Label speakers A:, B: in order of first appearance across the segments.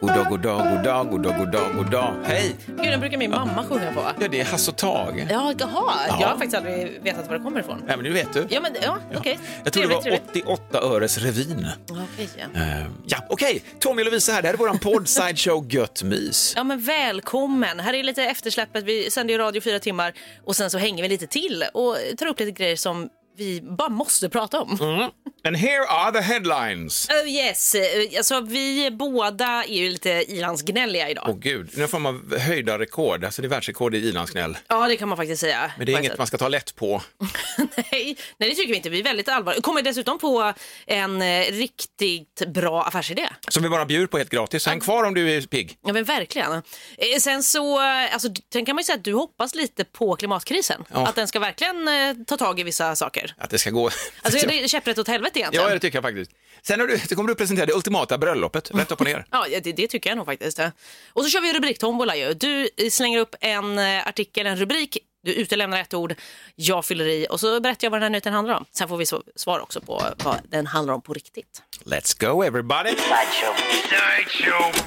A: God dag, god dag, god dag, god dag, god dag, god dag. Hej!
B: Gud, den brukar min mamma sjunga på.
A: Ja, det är Hasse och Tag. Nej,
B: Ja, jaha.
A: Ja.
B: Jag har faktiskt aldrig vetat var det kommer ifrån.
A: men nu vet du.
B: Ja, men ja,
A: Ja.
B: okej.
A: Jag tror det var
B: Trevligt,
A: 88 öres revyn.
B: trevligt. Okej, ja.
A: Eh, ja, okej. Tommy och Lovisa här. Det här är våran podd Sideshow Gött Mys.
B: ja, men välkommen. Här är lite eftersläppet. Vi sänder ju radio fyra timmar och sen så hänger vi lite till och tar upp lite grejer som vi bara måste prata om.
A: Mm. And here are the headlines.
B: Oh yes, Eh, alltså vi båda är ju lite ilandsgnälliga idag.
A: Åh gud, nu får man höjda rekord. Alltså det är världsrekord i ilandsgnäll.
B: Ja, det kan man faktiskt säga.
A: Men det är
B: På ett
A: inget
B: sätt.
A: man ska ta lätt på.
B: Nej, nej, det tycker vi inte. Vi är väldigt allvarliga. Kommer dessutom på en eh, riktigt bra affärsidé.
A: Som vi bara bjuder på helt gratis. Så Häng kvar om du är pigg.
B: Ja men verkligen. Eh, Sen så, eh, alltså, sen kan man ju säga att du hoppas lite på klimatkrisen.
A: Ja.
B: Att den ska verkligen eh, ta tag i vissa saker.
A: Att det ska gå.
B: Alltså är det käpprätt åt helvete egentligen?
A: Ja, det typ- tycker jag faktiskt. Sen har du, så kommer du presentera det ultimata bröllopet, rätt upp och ner.
B: Ja, det, det tycker jag nog faktiskt. eh. Och så kör vi rubriktombola ju. Du eh, slänger upp en eh, artikel, en rubrik, du utelämnar ett ord, jag fyller i och så berättar jag vad den här nyheten handlar om. Sen får vi så- svar också på vad den handlar om på riktigt.
A: Let's go everybody!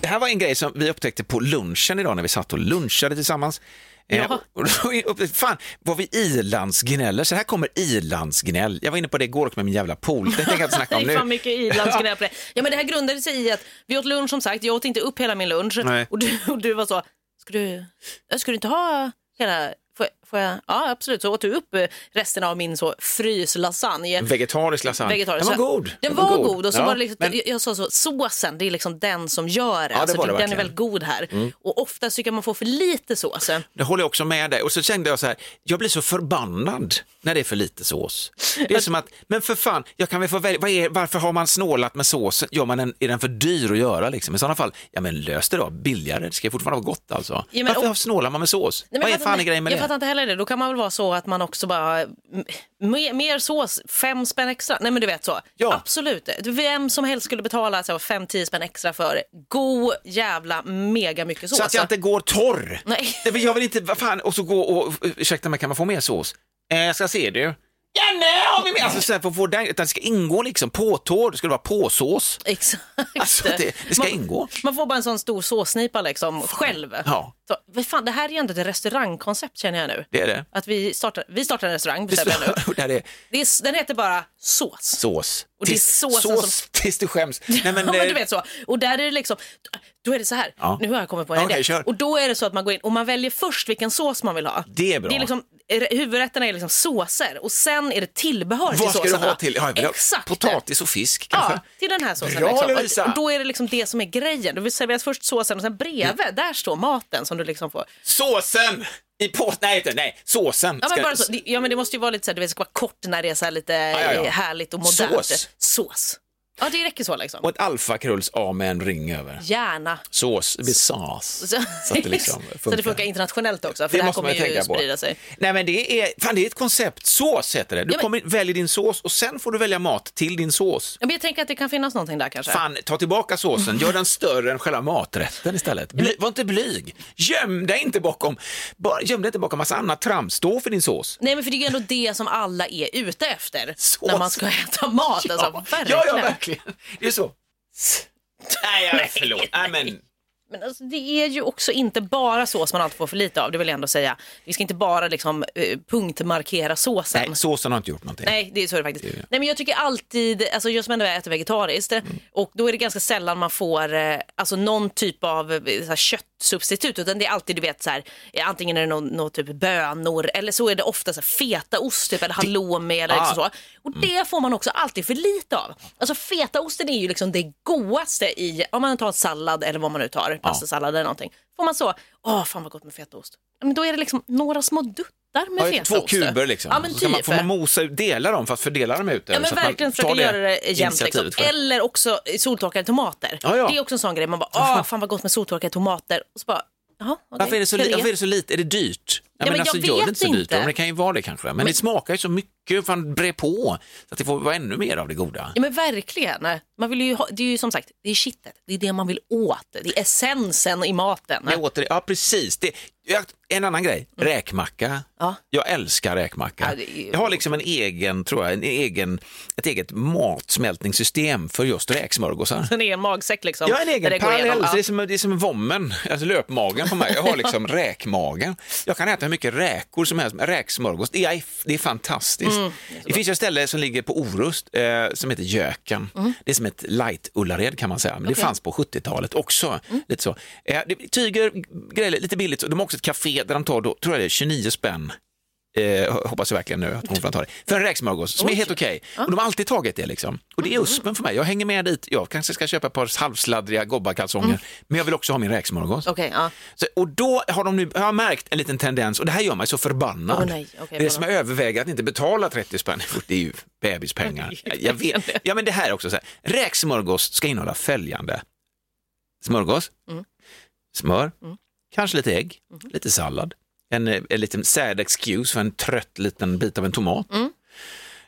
A: Det här var en grej som vi upptäckte på lunchen idag när vi satt och lunchade tillsammans. Eh,
B: Jaha.
A: och då upptäckte- Fan, vad vi ilandsgnäller. Så här kommer ilandsgnäll. Jag var inne på det igår och med min jävla pool. Det tänker jag inte snacka om
B: Det är fan
A: nu.
B: mycket ilandsgnäll på det. Ja, men det här grundade sig i att vi åt lunch som sagt, jag åt inte upp hela min lunch
A: Nej.
B: och du, och du var så, ska du, äh, ska du inte ha hela, får, jag- får jag, ja absolut, så åt du upp eh, resten av min så fryslasagne.
A: Vegetarisk lasagne.
B: Vegetarisk.
A: Den var god.
B: Den var god och så
A: Ja,
B: var det liksom,
A: men-
B: jag- jag sa så, såsen det är liksom den som gör det.
A: det
B: alltså,
A: var det
B: den är
A: verkligen. Mm.
B: väldigt god här. Och oftast tycker jag man får för lite sås.
A: Det håller jag också med dig. Och så kände jag så här, jag blir så förbannad när det är för lite sås. Det är som att, men för fan, jag kan väl få välja, vad är, varför har man snålat med såsen? Gör man en, är den för dyr att göra liksom? I sådana fall, ja men lös det då, billigare, det ska ju fortfarande vara gott alltså.
B: Ja, men-
A: varför
B: och-
A: snålar man med sås?
B: Nej, men
A: vad är
B: jag fattar
A: fan
B: inte-
A: är grejen med
B: Jag
A: det?
B: fattar inte heller det. Då kan man väl vara så att man också bara, m- mer, mer sås, fem spänn extra. Nej men du vet så.
A: Ja.
B: Absolut. Vem som helst skulle betala så, fem, tio spänn extra för god jävla mega mycket sås.
A: Så att jag inte går torr.
B: Nej.
A: Nej, men jag vill inte, vad fan, och så gå och, ursäkta mig, kan man få mer sås? Eh, jag ska se du. Ja, nej, har vi mer? Alltså, så här, för att få den, utan det ska ingå liksom, påtår, det skulle vara påsås.
B: Exakt.
A: Alltså, det, det ska
B: man,
A: ingå.
B: man får bara en sån stor såssnipa liksom själv.
A: Ja.
B: Så, vad fan, det här är ju ändå ett restaurangkoncept känner jag nu.
A: Det är det.
B: Att vi startar, vi startar en restaurang bestämmer jag nu.
A: Och där är
B: Det är, den heter bara sås.
A: sås.
B: Och det är
A: Tills-
B: såsen
A: sås
B: som-
A: tills du skäms. Nej, men,
B: ja, men
A: eh,
B: du vet så. Och där är det liksom, då är det så här,
A: Ja.
B: nu har jag kommit på en
A: Okej,
B: idé.
A: kör.
B: Och då är det så att man går in och man väljer först vilken sås man vill ha.
A: Det är bra.
B: Det är liksom, huvudrätterna är liksom såser och sen är det tillbehör till
A: vad ska du
B: såserna.
A: ha till? Ja, jag vill ha
B: Exakt.
A: Potatis och fisk kanske?
B: Ja, till den här såsen.
A: Bra,
B: liksom.
A: Lovisa.
B: och, och då är det liksom det som är grejen. Du serveras först såsen och sen bredvid,
A: Mm.
B: där står maten som du liksom får.
A: Såsen! I på... Nej, inte, nej, såsen.
B: Ja
A: ska-
B: men, bara så, det- ja, men det måste ju vara lite så här, du vet, det ska vara kort när det är så här lite
A: ja, ja.
B: eh, härligt och modernt.
A: Sås.
B: Sås. Ja, det räcker så liksom.
A: Och ett alfakrulls A med en ring över.
B: Gärna.
A: Sås, det blir sås.
B: Så,
A: Så att det liksom funkar.
B: så det funkar internationellt också, för det, här
A: måste man
B: kommer
A: ju
B: ju
A: tänka på.
B: sprida sig.
A: Nej men det är, fan det är ett koncept, sås heter det. Du
B: Ja, men-
A: kommer in, väljer din sås och sen får du välja mat till din sås.
B: Ja, men jag tänker att det kan finnas någonting där kanske.
A: Fan, ta tillbaka såsen, gör den större än själva maträtten istället. Bly, var inte blyg, göm dig inte bakom, bara, göm dig inte bakom massa annat trams, stå för din sås.
B: Nej, men för det är ju ändå det som alla är ute efter
A: Sås.
B: när man ska äta mat. Alltså, verkligen.
A: ja, ja, verkligen. Det är så. Nej, jag, förlåt. Nej, men,
B: Men alltså, det är ju också inte bara sås man alltid får för lite av, det vill jag ändå säga. Vi ska inte bara liksom, eh, punktmarkera såsen.
A: nej, såsen har inte gjort någonting.
B: Nej, det är så det faktiskt. Nej, men jag tycker alltid, alltså jag som ändå äter vegetariskt
A: Mm.
B: och då är det ganska sällan man får eh, alltså någon typ av eh, så här, köttsubstitut utan det är alltid du vet så här, eh, antingen är det någon, någon typ bönor eller så är det ofta så här, fetaost typ, eller halloumi eller liksom
A: Ah.
B: så. Och det får man också alltid för lite av. Alltså fetaosten är ju liksom det godaste i, om man tar en sallad eller vad man nu tar, pastasallad eller någonting. Får man så, åh fan vad gott med fetaost. Ja, Men då är det liksom några små duttar med
A: Ja,
B: fetaost.
A: Två kuber liksom.
B: Ja, men
A: så ska man,
B: typ.
A: får man mosa ut, dela dem fast fördela dem ut.
B: Ja, men
A: så att man
B: verkligen
A: tar
B: försöka göra det jämnt. Liksom.
A: initiativet själv.
B: Eller också soltorkade tomater.
A: Ja, ja.
B: Det är också en sån grej. Man bara, åh, fan vad gott med soltorkade tomater. Och så bara, Jaha, okej.
A: Varför är, det så li-
B: Puré.
A: varför är det så lite? Är det dyrt? Ja,
B: Ja,
A: men
B: men
A: alltså,
B: jag
A: gör det
B: vet
A: inte så dyrt,
B: inte.
A: men det kan ju vara det kanske. Men, det smakar ju så mycket, fan bre på, så att det får vara ännu mer av det goda.
B: Ja men verkligen. Man vill ju ha, det är ju som sagt, det är kittet, det är det man vill åt, det är essensen i maten.
A: Men åter, ja, precis. Det, jag, en annan grej, räkmacka.
B: Mm. Ja.
A: Jag älskar räkmacka.
B: Ja, det är ju-
A: Jag har liksom en egen, tror jag, en egen, ett eget matsmältningssystem för just räksmörgåsar.
B: Den är en magsäck liksom.
A: Jag har en
B: där
A: egen
B: det går igenom.
A: parallell,
B: Ja.
A: så det är som, det är som vommen, alltså löpmagen på mig. Jag har liksom räkmagen. Jag kan äta hur mycket räkor som helst, räksmörgås, det är, det är fantastiskt.
B: Mm.
A: det finns ju ett ställe som ligger på Orust eh, som heter Jöken.
B: Mm.
A: Det är som ett light-Ullared kan man säga, men det fanns på 70-talet också.
B: Mm.
A: Lite så. Eh, det, tyger, grejer, lite billigt, så de har också ett café där de tar, då, tror jag det är 29 spänn Eh, hoppas jag verkligen nu att hon får ta det. För en räksmörgås som är helt okej. Och de har alltid tagit det liksom. Och det är uspen för mig. Jag hänger med dit. Jag kanske ska köpa ett par halvsladdriga gobbarkalsonger. Men jag vill också ha min räksmörgås.
B: Okej, ja.
A: Så, och då har de nu, jag har märkt en liten tendens och det här gör mig så förbannad.
B: Åh, nej. Okej,
A: det är
B: förlåt.
A: som jag överväger att inte betala 30 spänn. Det är ju bebispengar. Jag vet. Ja men det här är också så här. Räksmörgås ska innehålla följande. Smörgås,
B: Mm.
A: smör, kanske lite ägg, lite sallad, en, eh, en liten sad excuse för en trött liten bit av en tomat.
B: Mm.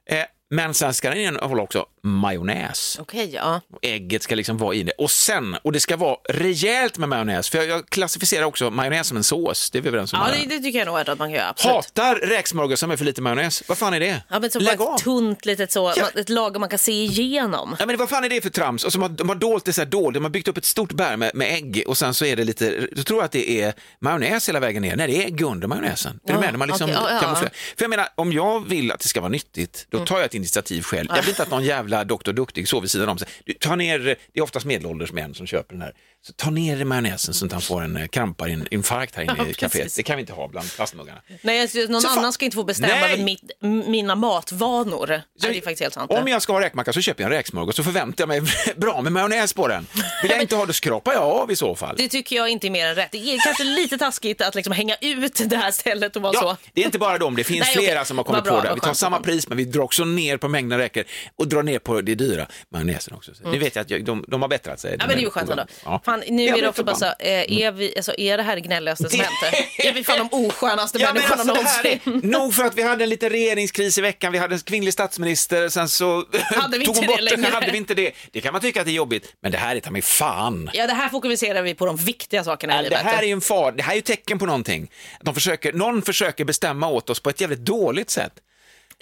A: Eh, men sen ska den innehålla också majonnäs.
B: Okej, ja.
A: Och Ägget ska liksom vara i det. Och sen, och det ska vara rejält med majonnäs, för jag, jag klassificerar också majonnäs som en sås, det är vi överens om.
B: ja
A: här.
B: det, det tycker jag nog ändå att man kan göra. Absolut.
A: Hatar räksmörgåsar med för lite majonnäs, vad fan är det?
B: Ja, men så
A: Lägg
B: bara
A: av!
B: ett tunt litet så,
A: Ja.
B: man- ett lager man kan se igenom.
A: Ja, men vad fan är det för trams? Och som har, de har dolt det så här dåligt, de har byggt upp ett stort berg med, med ägg och sen så är det lite, du tror jag att det är majonnäs hela vägen ner, nej det är ägg under majonnäsen. Är du
B: Ja,
A: med? De har liksom
B: okej, ja, Mm. ja, ja.
A: kamouflerat. För jag menar, om jag vill att det ska vara nyttigt, då tar jag ett initiativ själv. Jag vill inte att någon jävla doktor duktig sover vid sidan om sig. Du, ta ner, det är oftast medelålders män som köper den här, så ta ner majonnäsen så att han får en eh, kramparinfarkt här inne i
B: Ja,
A: kaféet.
B: precis.
A: Det kan vi inte ha bland plastmuggarna.
B: Nej, alltså, någon
A: Så fan-
B: annan ska inte få bestämma
A: Nej!
B: över mitt, m- mina matvanor. Nej, det är faktiskt helt sant.
A: Om jag ska ha räkmacka så köper jag en räksmörgås så förväntar jag mig bra med majonnäs på den. Vill jag inte ha det skrapar jag av i så fall.
B: Det tycker jag inte är mer än rätt. Det är kanske lite taskigt att liksom hänga ut det här stället och vara
A: Ja,
B: så.
A: det är inte bara de, det finns
B: Nej,
A: flera
B: okej.
A: som har kommit
B: Vad bra,
A: på det.
B: vad
A: Vi tar
B: skönt,
A: samma
B: vad skönt.
A: pris men vi drar också ner på mängden räkor och drar ner på det dyra majonnäsen också. Så Nu vet jag att jag, de, de har bättrat sig.
B: Mm. Ja, men det är ju skönt ändå.
A: Ja.
B: Fan, nu
A: Ja,
B: är
A: men
B: det också bara så, eh, är, vi, alltså, är det här det gnälligaste som
A: Det-
B: hänt? Är vi fan de oskönaste
A: Ja, men
B: människorna
A: alltså, det här
B: någonsin?
A: är, nog för att vi hade en liten regeringskris i veckan, vi hade en kvinnlig statsminister, sen så
B: Hade vi
A: tog hon
B: inte det
A: bort den,
B: längre?
A: hade vi inte det. Det kan man tycka att det är jobbigt, men det här är ta mig fan.
B: Ja, det här fokuserar vi på de viktiga sakerna i
A: Det
B: livet.
A: här är ju en far, det här är ju tecken på någonting. Att De försöker, någon försöker bestämma åt oss på ett jävligt dåligt sätt.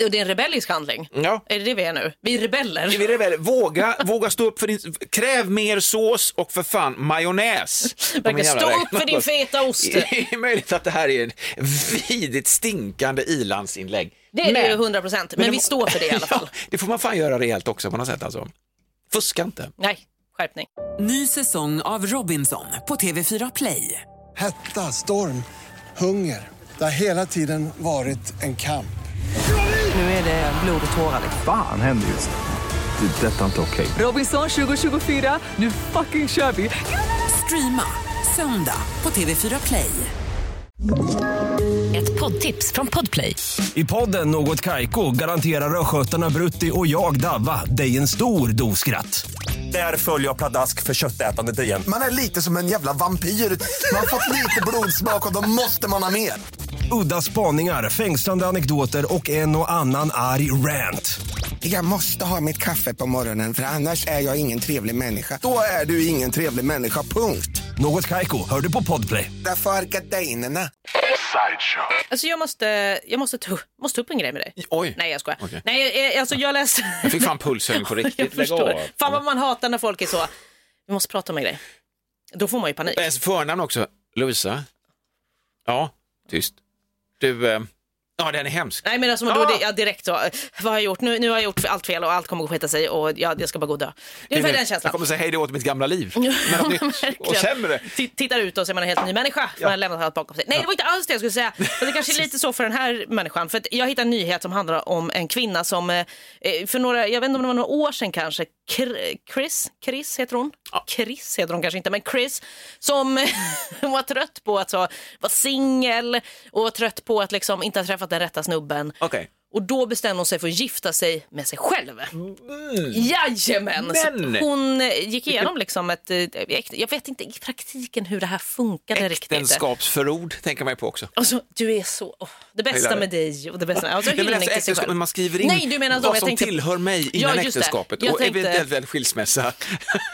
B: Och det är en rebellisk handling.
A: Ja.
B: Är det det vi är nu? Vi är rebeller.
A: Vi är rebeller. Våga, våga stå upp för din... Kräv mer sås och för fan majonnäs. på
B: Verkar
A: min jävla
B: stå
A: räkmacka.
B: upp för din feta ost.
A: Det är möjligt att det här är en vidigt stinkande ilandsinlägg.
B: Det är det ju
A: Men-
B: 100 procent, men,
A: det
B: vi
A: må-
B: står för det i alla fall.
A: ja, det får man fan göra rejält också på något sätt alltså. Fuska inte.
B: Nej, skärpning.
C: Ny säsong av Robinson på TV4 Play.
D: Hetta, storm, hunger. Det har hela tiden varit en kamp.
C: Nu är det blod och tårar. liksom.
E: Fan händer just nu. Det. är Detta är inte okej.
C: Robinson 2024, nu fucking kör vi! Streama söndag på TV4 Play.
F: Ett poddtips från Podplay.
G: I podden Något Kaiko garanterar östgötarna Brutti och jag, Davva, dig en stor dos skratt. Där följer jag pladask för köttätandet igen.
H: Man är lite som en jävla vampyr. Man har fått lite blodsmak och då måste man ha mer.
G: Udda spaningar, fängslande anekdoter och en och annan arg rant.
I: Jag måste ha mitt kaffe på morgonen för annars är jag ingen trevlig människa.
H: Då är du ingen trevlig människa, punkt.
G: Något Kaiko, hör du på Podplay.
H: Därför är gardinerna.
B: Alltså jag måste, jag måste, ta, måste ta upp en grej med dig.
A: Oj.
B: Nej, jag skojar.
A: Okej.
B: Nej, eh, alltså jag läste...
A: Jag fick fan pulshöjning på
B: jag
A: riktigt. Lägg
B: förstår.
A: av.
B: Fan vad man hatar när folk är så, vi måste prata om en grej. Då får man ju panik.
A: Ens Äh, förnamn också. Lovisa. Ja, tyst. Du, eh, ja den är hemsk.
B: Nej men alltså, då, är
A: Ah!
B: det, ja, direkt så, eh, vad har jag gjort? Nu, nu har jag gjort allt fel och allt kommer att skita sig och jag, jag ska bara gå och dö. Det är ungefär den
A: Jag
B: känslan.
A: kommer säga hej då åt mitt gamla liv. Men att nytt och
B: Verkligen.
A: sämre.
B: T- Tittar ut och så är man en helt ny människa. Man har lämnat allt bakom sig. Nej, det var inte alls det jag skulle säga. Men det kanske är lite så för den här människan. För att jag hittade en nyhet som handlar om en kvinna som eh, eh, för några, jag vet inte om det var några år sedan kanske, Kr- Chris, Chris heter hon. Chris heter hon kanske inte, men Chris som hon var trött på att så, vara singel och var trött på att liksom inte ha träffat den rätta snubben.
A: Okej.
B: Och då bestämde hon sig för att gifta sig med sig själv. Jajamän!
A: Mm. Men-
B: Så hon eh, gick igenom liksom ett... eh, äkt- Jag vet inte i praktiken hur det här funkade riktigt.
A: Äktenskapsförord tänker man ju på också.
B: Alltså, du är så... åh, det bästa
A: gillar det.
B: med dig och det bästa med... Alltså,
A: Nej, men
B: hyllning
A: alltså,
B: till sig
A: äktenskap,
B: själv.
A: men man skriver in
B: Nej, du menar så,
A: vad
B: jag
A: som
B: tänkte-
A: tillhör mig innan
B: Ja, just det.
A: äktenskapet
B: Jag
A: och
B: tänkte-
A: eventuellt väl skilsmässa.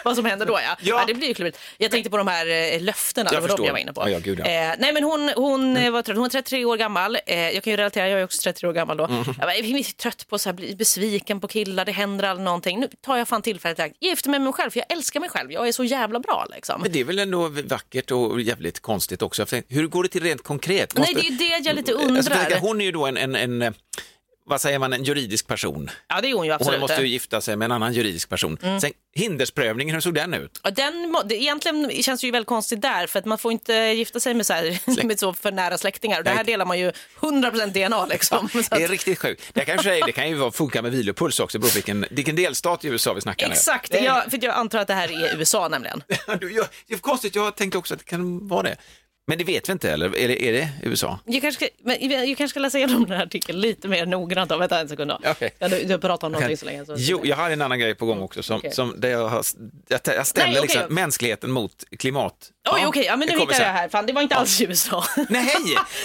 B: Vad som händer då ja.
A: Ja.
B: ja. det blir ju klurigt. Jag tänkte på de här eh, löftena,
A: Jag
B: det var
A: förstår.
B: de jag var inne på.
A: Ja, ja, gud, ja. Mm.
B: Eh, nej men hon, hon, eh, var trött. hon är 33 år gammal, eh, jag kan ju relatera, jag är också 33 år gammal då.
A: Mm.
B: Jag var jag är trött på att bli besviken på killar, det händer aldrig någonting. Nu tar jag fan tillfället i akt, gifter mig med mig själv för jag älskar mig själv, jag är så jävla bra liksom.
A: Men det är väl ändå vackert och jävligt konstigt också. Jag tänkte, Hur går det till rent konkret?
B: Nej, det är ju det jag lite
A: Alltså,
B: undrar.
A: tänker, hon är ju då en, en, en, eh, vad säger man, en juridisk person.
B: Ja det är hon ju
A: Och hon
B: absolut.
A: måste ju gifta sig med en annan juridisk person. Sen, hindersprövningen, hur såg den ut?
B: Ja, Den, må- det, egentligen känns det ju väldigt konstigt där för att man får inte gifta sig med så, här, med så för nära släktingar. Och det här
A: Nej.
B: delar man ju 100% DNA liksom. Så
A: Det är
B: att-
A: riktigt sjukt. Det, kanske är, det kan ju vara- funka med vilopuls också, beroende på vilken, vilken delstat i USA vi snackar nu.
B: Exakt, jag, för jag antar att det här är USA nämligen.
A: Ja, du, jag, det är konstigt, jag tänkte också att det kan vara det. Men det vet vi inte, eller är det, är det USA?
B: Jag kanske ska, men jag kanske ska läsa igenom den här artikeln lite mer noggrant. om- Vänta en sekund. då.
A: Okej.
B: Ja, du, du pratar om någonting så länge. Så.
A: Jo, jag har en annan grej på gång också, som,
B: Okej.
A: som där jag, har, jag, jag ställer
B: Nej, okej.
A: liksom mänskligheten mot klimat.
B: Oj, okej, ja, men nu
A: kommer
B: hittade jag
A: sen.
B: här. Fan, det var inte alls i USA.
A: Nej,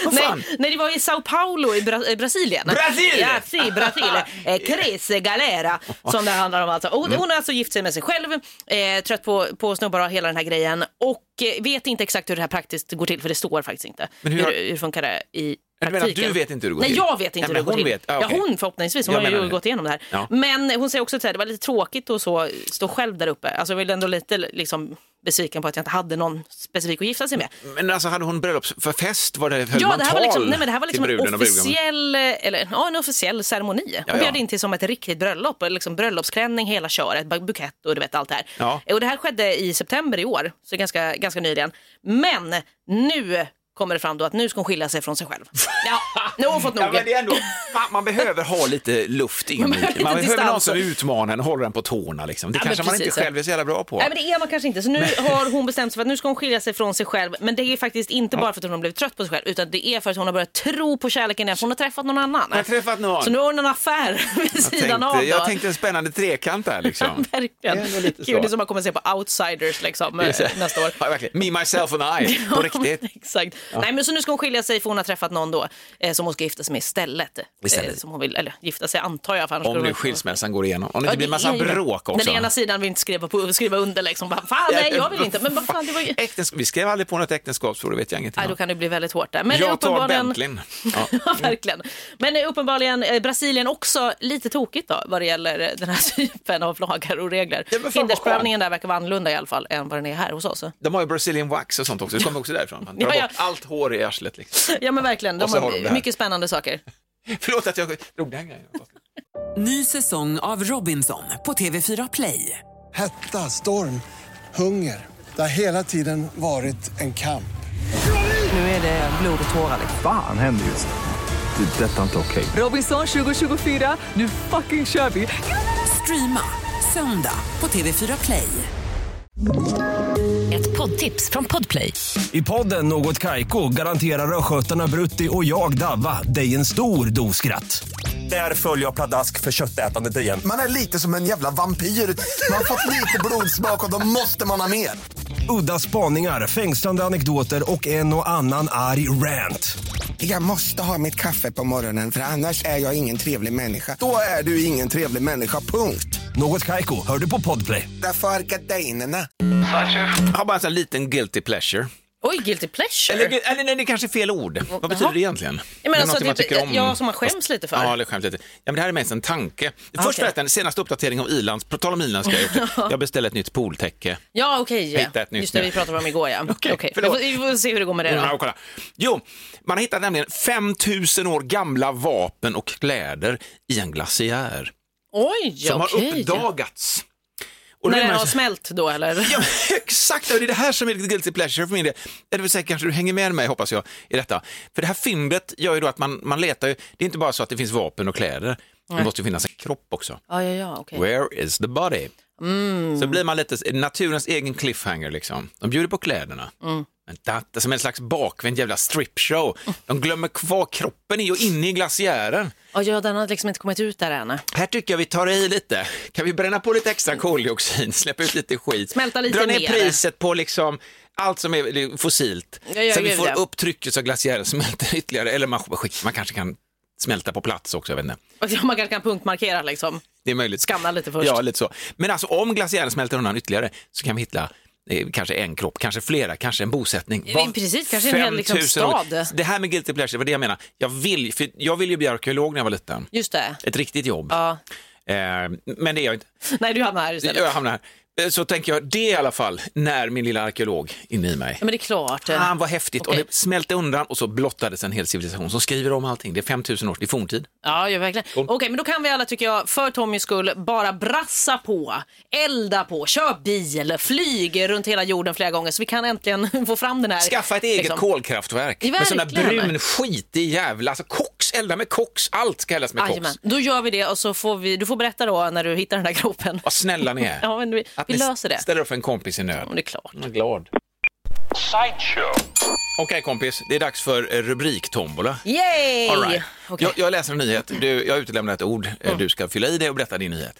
A: vad fan?
B: nej, nej, det var i Sao Paulo i Bra- eh, Brasilien.
A: Brasil!
B: Ja, si, Brasil. Eh, Cris Galera, som det handlar om. Alltså. Och
A: Mm.
B: Hon, hon har alltså gift sig med sig själv, eh, trött på, på snubbar och hela den här grejen och eh, vet inte exakt hur det här praktiskt går till, för det står faktiskt inte.
A: Men hur
B: hur,
A: har-
B: hur funkar det i
A: Men du menar att
B: praktiken?
A: du vet inte hur det går
B: Nej,
A: till?
B: jag vet inte
A: Ja,
B: hur det
A: men
B: går
A: hon
B: till.
A: vet. Ja, okej.
B: ja, hon förhoppningsvis. Hon
A: Jag
B: har ju
A: menar det.
B: gått igenom det här.
A: Ja.
B: Men hon säger också att det var lite tråkigt att så, stå själv där uppe. Alltså, jag var ändå lite liksom, besviken på att jag inte hade någon specifik att gifta sig med.
A: Men alltså hade hon bröllops för fest? Var det, höll
B: Ja,
A: man
B: det här,
A: tal
B: var liksom, nej, men det här var liksom
A: till bruden
B: en
A: och brudgummen?
B: officiell, eh, eller, ja, en officiell ceremoni.
A: Ja,
B: Hon
A: ja.
B: bjöd in till som ett riktigt bröllop, och liksom bröllopsklänning, hela köret, bu- bukett och du vet allt det här.
A: Ja.
B: Och det här skedde i september i år, så ganska, ganska nyligen. Men nu kommer det fram då att nu ska hon skilja sig från sig själv. Ja, nu har hon fått nog.
A: Ja, men det är ändå, man, man behöver ha lite luft in i.
B: Man
A: Man,
B: behöver lite
A: behöver någon
B: distans.
A: som utmanar en och håller en på tårna. Liksom. Det
B: Ja, men
A: kanske man inte
B: precis, ja.
A: själv är så jävla bra på.
B: Nej men det är man kanske inte, så nu har hon bestämt sig för att nu ska hon skilja sig från sig själv. Men det är faktiskt inte bara för att hon har blivit trött på sig själv utan det är för att hon har börjat tro på kärleken igen, för hon har träffat någon annan.
A: Jag har träffat någon.
B: Så nu har hon en affär vid
A: jag,
B: sidan av.
A: tänkte, jag
B: då.
A: tänkte en spännande trekant där. Liksom.
B: Verkligen.
A: Det är ändå
B: Gud,
A: lite
B: det
A: så.
B: är som man kommer se på Outsiders liksom, eh, nästa år.
A: Ja, verkligen. Me, myself and I, på riktigt.
B: Exakt. Nej, men så nu ska hon skilja sig för hon har träffat någon då eh, som hon ska gifta sig med istället. Eh,
A: Istället.
B: som hon vill, eller gifta sig antar jag. För annars
A: Om
B: skulle
A: nu
B: hon-
A: skilsmässan går igenom. Om det
B: Ja,
A: inte blir massa
B: är ju det.
A: bråk också.
B: Den ena sidan vill inte skriva, på, skriva under liksom. Bara, fan nej, jag vill inte. Men vad fan, det var ju...
A: Äktens... Vi skrev aldrig på något äktenskapsförord, det vet jag ingenting
B: Nej, då
A: om.
B: kan det bli väldigt hårt där. Men det är
A: Jag tar
B: uppenbarligen-
A: Bentleyn. Ja.
B: Ja, verkligen. Men eh, uppenbarligen eh, Brasilien också lite tokigt då vad det gäller eh, den här typen av lagar och regler.
A: Ja, men fan, vad
B: Hindersprövningen där verkar vara annorlunda i alla fall än vad den är här hos oss.
A: De har ju Brazilian wax och sånt också, det kommer också därifrån. Man tar
B: Ja, ja.
A: bort allt hår i arslet. Liksom.
B: Ja men verkligen,
A: Och
B: de
A: så
B: har,
A: har de det här.
B: mycket spännande saker.
A: Förlåt att jag drog den grejen.
C: Ny säsong av Robinson på TV4 Play.
D: Hetta, storm, hunger. Det har hela tiden varit en kamp.
C: Nu är det blod och tårar.
E: Fan händer just det. Det är detta inte okej.
C: Robinson 2024, nu fucking kör vi! Streama söndag på TV4 Play.
F: Ett poddtips från Podplay.
G: I podden Något Kaiko garanterar östgötarna Brutti och jag, Davva, dig en stor dos skratt. Där följer jag pladask för köttätandet igen.
H: Man är lite som en jävla vampyr. Man har fått lite blodsmak och då måste man ha mer.
G: Udda spaningar, fängslande anekdoter och en och annan arg rant.
I: Jag måste ha mitt kaffe på morgonen för annars är jag ingen trevlig människa. Då är du ingen trevlig människa, punkt.
G: Något Kaiko, hör du på Podplay.
I: Därför är gardinerna.
A: Jag har bara en sån här liten guilty pleasure.
B: Oj, guilty pleasure.
A: Eller, eller nej, det kanske är fel ord. Vad betyder
B: Jaha.
A: det egentligen?
B: Jag menar
A: Det är
B: så
A: något
B: att det- ja, som man skäms lite för. Ah,
A: Ja, eller skäms lite. Ja, men det här är mest en tanke. Först
B: okej.
A: berätta en senaste uppdatering om Irlands, på tal om Irlands ska jag gjort. det. Jag beställde ett nytt pooltäcke.
B: Ja okej,
A: Hitta ett nytt
B: just det
A: nu.
B: vi pratade om igår ja.
A: Okej,
B: Okej. Vi,
A: förlåt.
B: får, vi får se hur det går med det
A: Ja,
B: då.
A: och kolla. Jo, man har hittat nämligen 5000 år gamla vapen och kläder i en glaciär
B: Oj,
A: som har
B: okej.
A: uppdagats. Och då
B: När
A: är
B: den
A: man
B: har
A: så-
B: smält då eller?
A: Ja, men exakt, och det är det här som är lite guilty pleasure för min del. Det vill säga, kanske du hänger med mig, hoppas jag, i detta. För det här fyndet gör ju då att man, man letar ju, det är inte bara så att det finns vapen och kläder, det måste ju finnas en kropp också.
B: Ja, ja, ja, okej.
A: Where is the body? Så blir man lite naturens egen cliffhanger liksom. De bjuder på kläderna, Vänta, som en slags bakvänd jävla stripshow. De glömmer kvar kroppen i och inne i glaciären.
B: Ja, ja, den har liksom inte kommit ut där än.
A: Här tycker jag vi tar i lite. Kan vi bränna på lite extra koldioxid, släppa ut lite skit.
B: Smälta lite
A: Dra ner
B: mer.
A: priset på liksom allt som är fossilt.
B: Ja, ja,
A: så vi
B: gud,
A: får
B: ja.
A: upp trycket så glaciären smälter ytterligare. Eller man, skit, man kanske kan smälta på plats också, jag vet inte.
B: Och Man kanske kan punktmarkera liksom.
A: Det är möjligt.
B: Skanna lite först.
A: Ja, lite så. Men alltså om glaciären smälter undan ytterligare så kan vi hitta eh, kanske en kropp, kanske flera, kanske en bosättning.
B: Ja, precis, kanske en hel, liksom,
A: 5000 år.
B: stad.
A: Det här med guilty pleasure, det var det jag menar. Jag vill, för jag vill ju bli arkeolog när jag var liten.
B: Just det.
A: Ett riktigt jobb.
B: Ja.
A: Eh, men det är jag inte.
B: Nej, du hamnar här istället.
A: Jag hamnar här. Eh, Så tänker jag det i alla fall, när min lilla arkeolog inne i mig.
B: Ja, men det är klart.
A: Ah, Han var häftigt
B: Okej.
A: och det smälte undan och så blottades en hel civilisation som skriver om allting. Det är 5000 år, det är forntid.
B: Ja, ja verkligen. Okej, men då kan vi alla, tycker jag, för Tommys skull, bara brassa på, elda på, kör bil, flyg runt hela jorden flera gånger så vi kan äntligen få fram den här...
A: Skaffa ett eget
B: liksom.
A: kolkraftverk
B: Ja,
A: med sån där
B: verkligen.
A: brun skit i jävla, alltså koks, elda med koks, allt ska eldas med
B: Jajamän.
A: koks.
B: Då gör vi det och så får vi, du får berätta då när du hittar den här kroppen.
A: Vad snälla ni är.
B: Ja, men vi,
A: Att
B: vi
A: ni
B: löser det.
A: ställer upp för en kompis i nöd.
B: Ja, det är klart.
A: Jag är glad. Okej kompis, det är dags för eh, rubriktombola.
B: Yay!
A: All right.
B: Okej. Mm.
A: jag, jag läser en nyhet, du, jag utelämnar ett ord, Eh, du ska fylla i det och berätta din nyhet.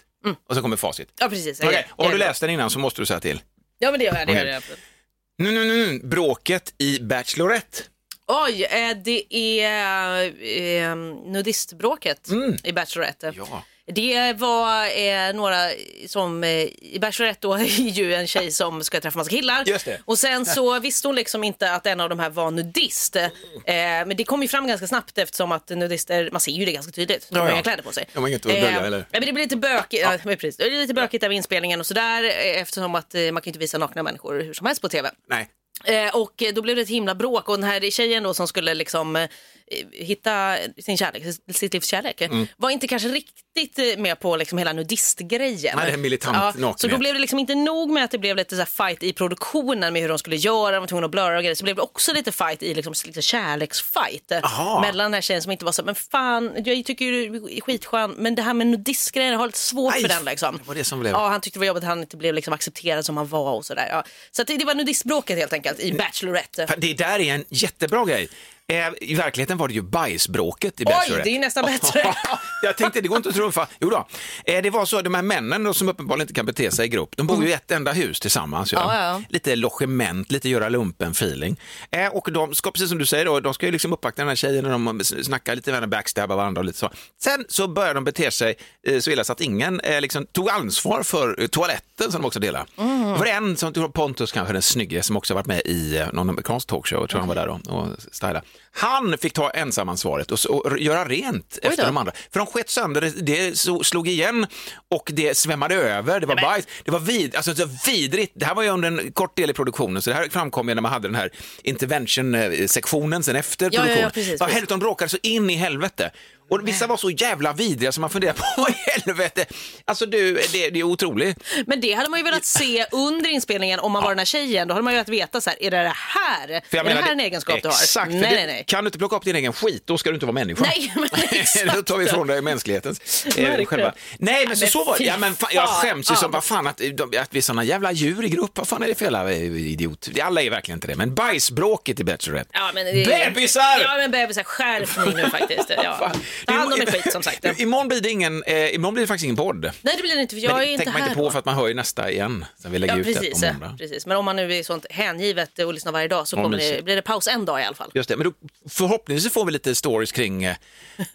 A: Och så kommer facit.
B: Ja, precis. Jag
A: Okej,
B: gör Mm. det.
A: och har
B: Jag
A: du
B: gör det.
A: läst den innan så måste du säga till.
B: Ja, men det gör jag. Det gör
A: Okej.
B: jag.
A: Nu, nu, nu, nu, bråket i Bachelorette.
B: Oj, eh, det är eh, nudistbråket i Bachelorette.
A: Mm. Ja.
B: Det var eh, några som, eh, i Bachelorette då är ju en tjej som ska träffa massa killar.
A: Just det.
B: Och sen så visste hon liksom inte att en av de här var nudist. Eh, men det kom ju fram ganska snabbt eftersom att nudister, man ser ju det ganska tydligt. De har
A: Ja, ja.
B: inga kläder på sig. Eh,
A: De har inget att dölja, eller?
B: ja, men det blir lite bökigt, ja. men precis. Det blir lite bökigt där med inspelningen och sådär eh, eftersom att eh, man kan ju inte visa nakna människor hur som helst på TV.
A: Nej,
B: Eh, och eh, då blev det ett himla bråk och den här tjejen då som skulle liksom eh, hitta sin kärlek, sitt livs kärlek, eh,
A: Mm.
B: var inte kanske riktigt eh, med på liksom hela nudistgrejen.
A: Nej, det är militant nakenhet.
B: så då blev det liksom inte nog med att det blev lite så här fight i produktionen med hur de skulle göra, de var tvungna att blurra och grejer, så blev det också lite fight i liksom, lite kärleksfight eh,
A: Aha.
B: mellan den här tjejen som inte var så här, men fan, jag tycker ju du är skitskön, men det här med nudistgrejen, jag har lite svårt
A: Aj,
B: för den liksom.
A: det var det som blev.
B: Ja, Ja, han tyckte det var jobbigt att han inte blev liksom accepterad som han var och sådär. Ja. Så att det, det var nudistbråket helt enkelt i Bachelorette.
A: För Det där är en jättebra grej. Eh, I verkligheten var det ju bajsbråket i
B: Oj,
A: Bachelorette.
B: det är ju nästan bättre.
A: Jag tänkte, det går inte att trumfa. Jo då. Eh, det var så att de här männen då, som uppenbarligen inte kan bete sig i grupp, de bor ju i ett enda hus tillsammans. Ja.
B: Ja, Mm. ja.
A: Lite logement, lite göra lumpen-feeling. Eh, och de ska, precis som du säger, då, de ska ju liksom uppvakta den här tjejen och de snackar lite med henne, backstabbar varandra och lite så. Sen så börjar de bete sig eh, så illa så att ingen eh, liksom, tog ansvar för eh, toaletten som de också delar.
B: Mm.
A: Det var en som tog Pontus, kanske den snygge, som också varit med i eh, någon amerikansk talkshow, jag tror han var där då, och styla. Han fick ta ensamansvaret och, s- och göra rent efter de andra. För de sket sönder, det, det så- slog igen och det svämmade över, det var bajs, det var vid, alltså, det var vidrigt. Det här var ju under en kort del i produktionen, så det här framkom ju när man hade den här intervention-sektionen sen efter
B: ja, ja,
A: produktionen.
B: precis,
A: Vad
B: precis.
A: helvete, de bråkade så in i helvete. Och vissa var så jävla vidriga som man funderar på, vad i helvete, alltså du, det, det är otroligt.
B: Men det hade man ju velat se under inspelningen om man var den här tjejen. Då hade man ju velat veta så här, är det det här, är
A: För jag
B: det
A: menar,
B: här en egenskap du har?
A: Exakt, för
B: nej,
A: det-
B: nej, nej.
A: Kan du inte plocka upp din egen skit, då ska du inte vara människa.
B: Nej, men exakt.
A: då tar vi ifrån dig mänsklighetens eh,
B: Verkligen.
A: själva. Nej, men så,
B: men
A: så var det.
B: fy
A: Ja, men fan, jag
B: fan.
A: skäms ju som
B: Ja.
A: vad fan att, eh, de- att vi är såna jävla djur i grupp. Vad fan är det för jävla eh, idiot? Det- Alla är verkligen inte det, men bajsbråket i Bachelorette.
B: Ja, men
A: Bebisar!
B: Ja, men bebisar. Skärpning nu faktiskt. Ja.
A: Fan.
B: Ta hand om er skit som sagt. Nej,
A: Imorgon blir det, ingen, eh, imorgon blir det faktiskt ingen podd.
B: det blir det inte för jag
A: men
B: är
A: det
B: inte
A: tänker
B: här
A: man inte på
B: då.
A: för att man hör ju nästa igen. Sen vi lägger
B: Ja,
A: ut
B: precis,
A: det på måndag.
B: precis. Men om man nu är sånt hängivet och lyssnar varje dag så
A: Ja,
B: kommer det,
A: mysigt.
B: blir det paus en dag i alla fall.
A: Just det, men då, förhoppningsvis får vi lite stories kring eh,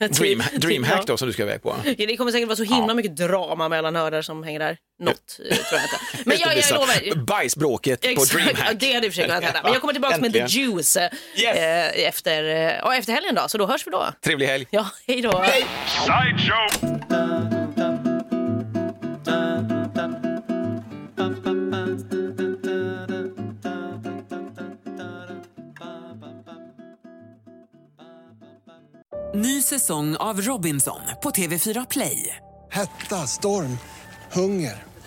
B: Typ,
A: dream, Dreamhack då som du ska iväg på.
B: Ja, Det kommer säkert vara så himla mycket drama mellan nördar som hänger där. Något eh, tror jag inte. Men jag, jag lovar.
A: Bajsbråket på
B: Exakt,
A: Dreamhack.
B: ja, det hade i och för sig kunnat hända. Men jag kommer tillbaka med The
A: Äntligen.
B: Juice eh,
A: Yes.
B: eh, efter, eh, ja, efter helgen då, så då hörs vi då.
A: Trevlig helg.
B: Ja, hej då.
C: Ny säsong av Robinson på TV4 Play.
D: Hetta, storm, hunger.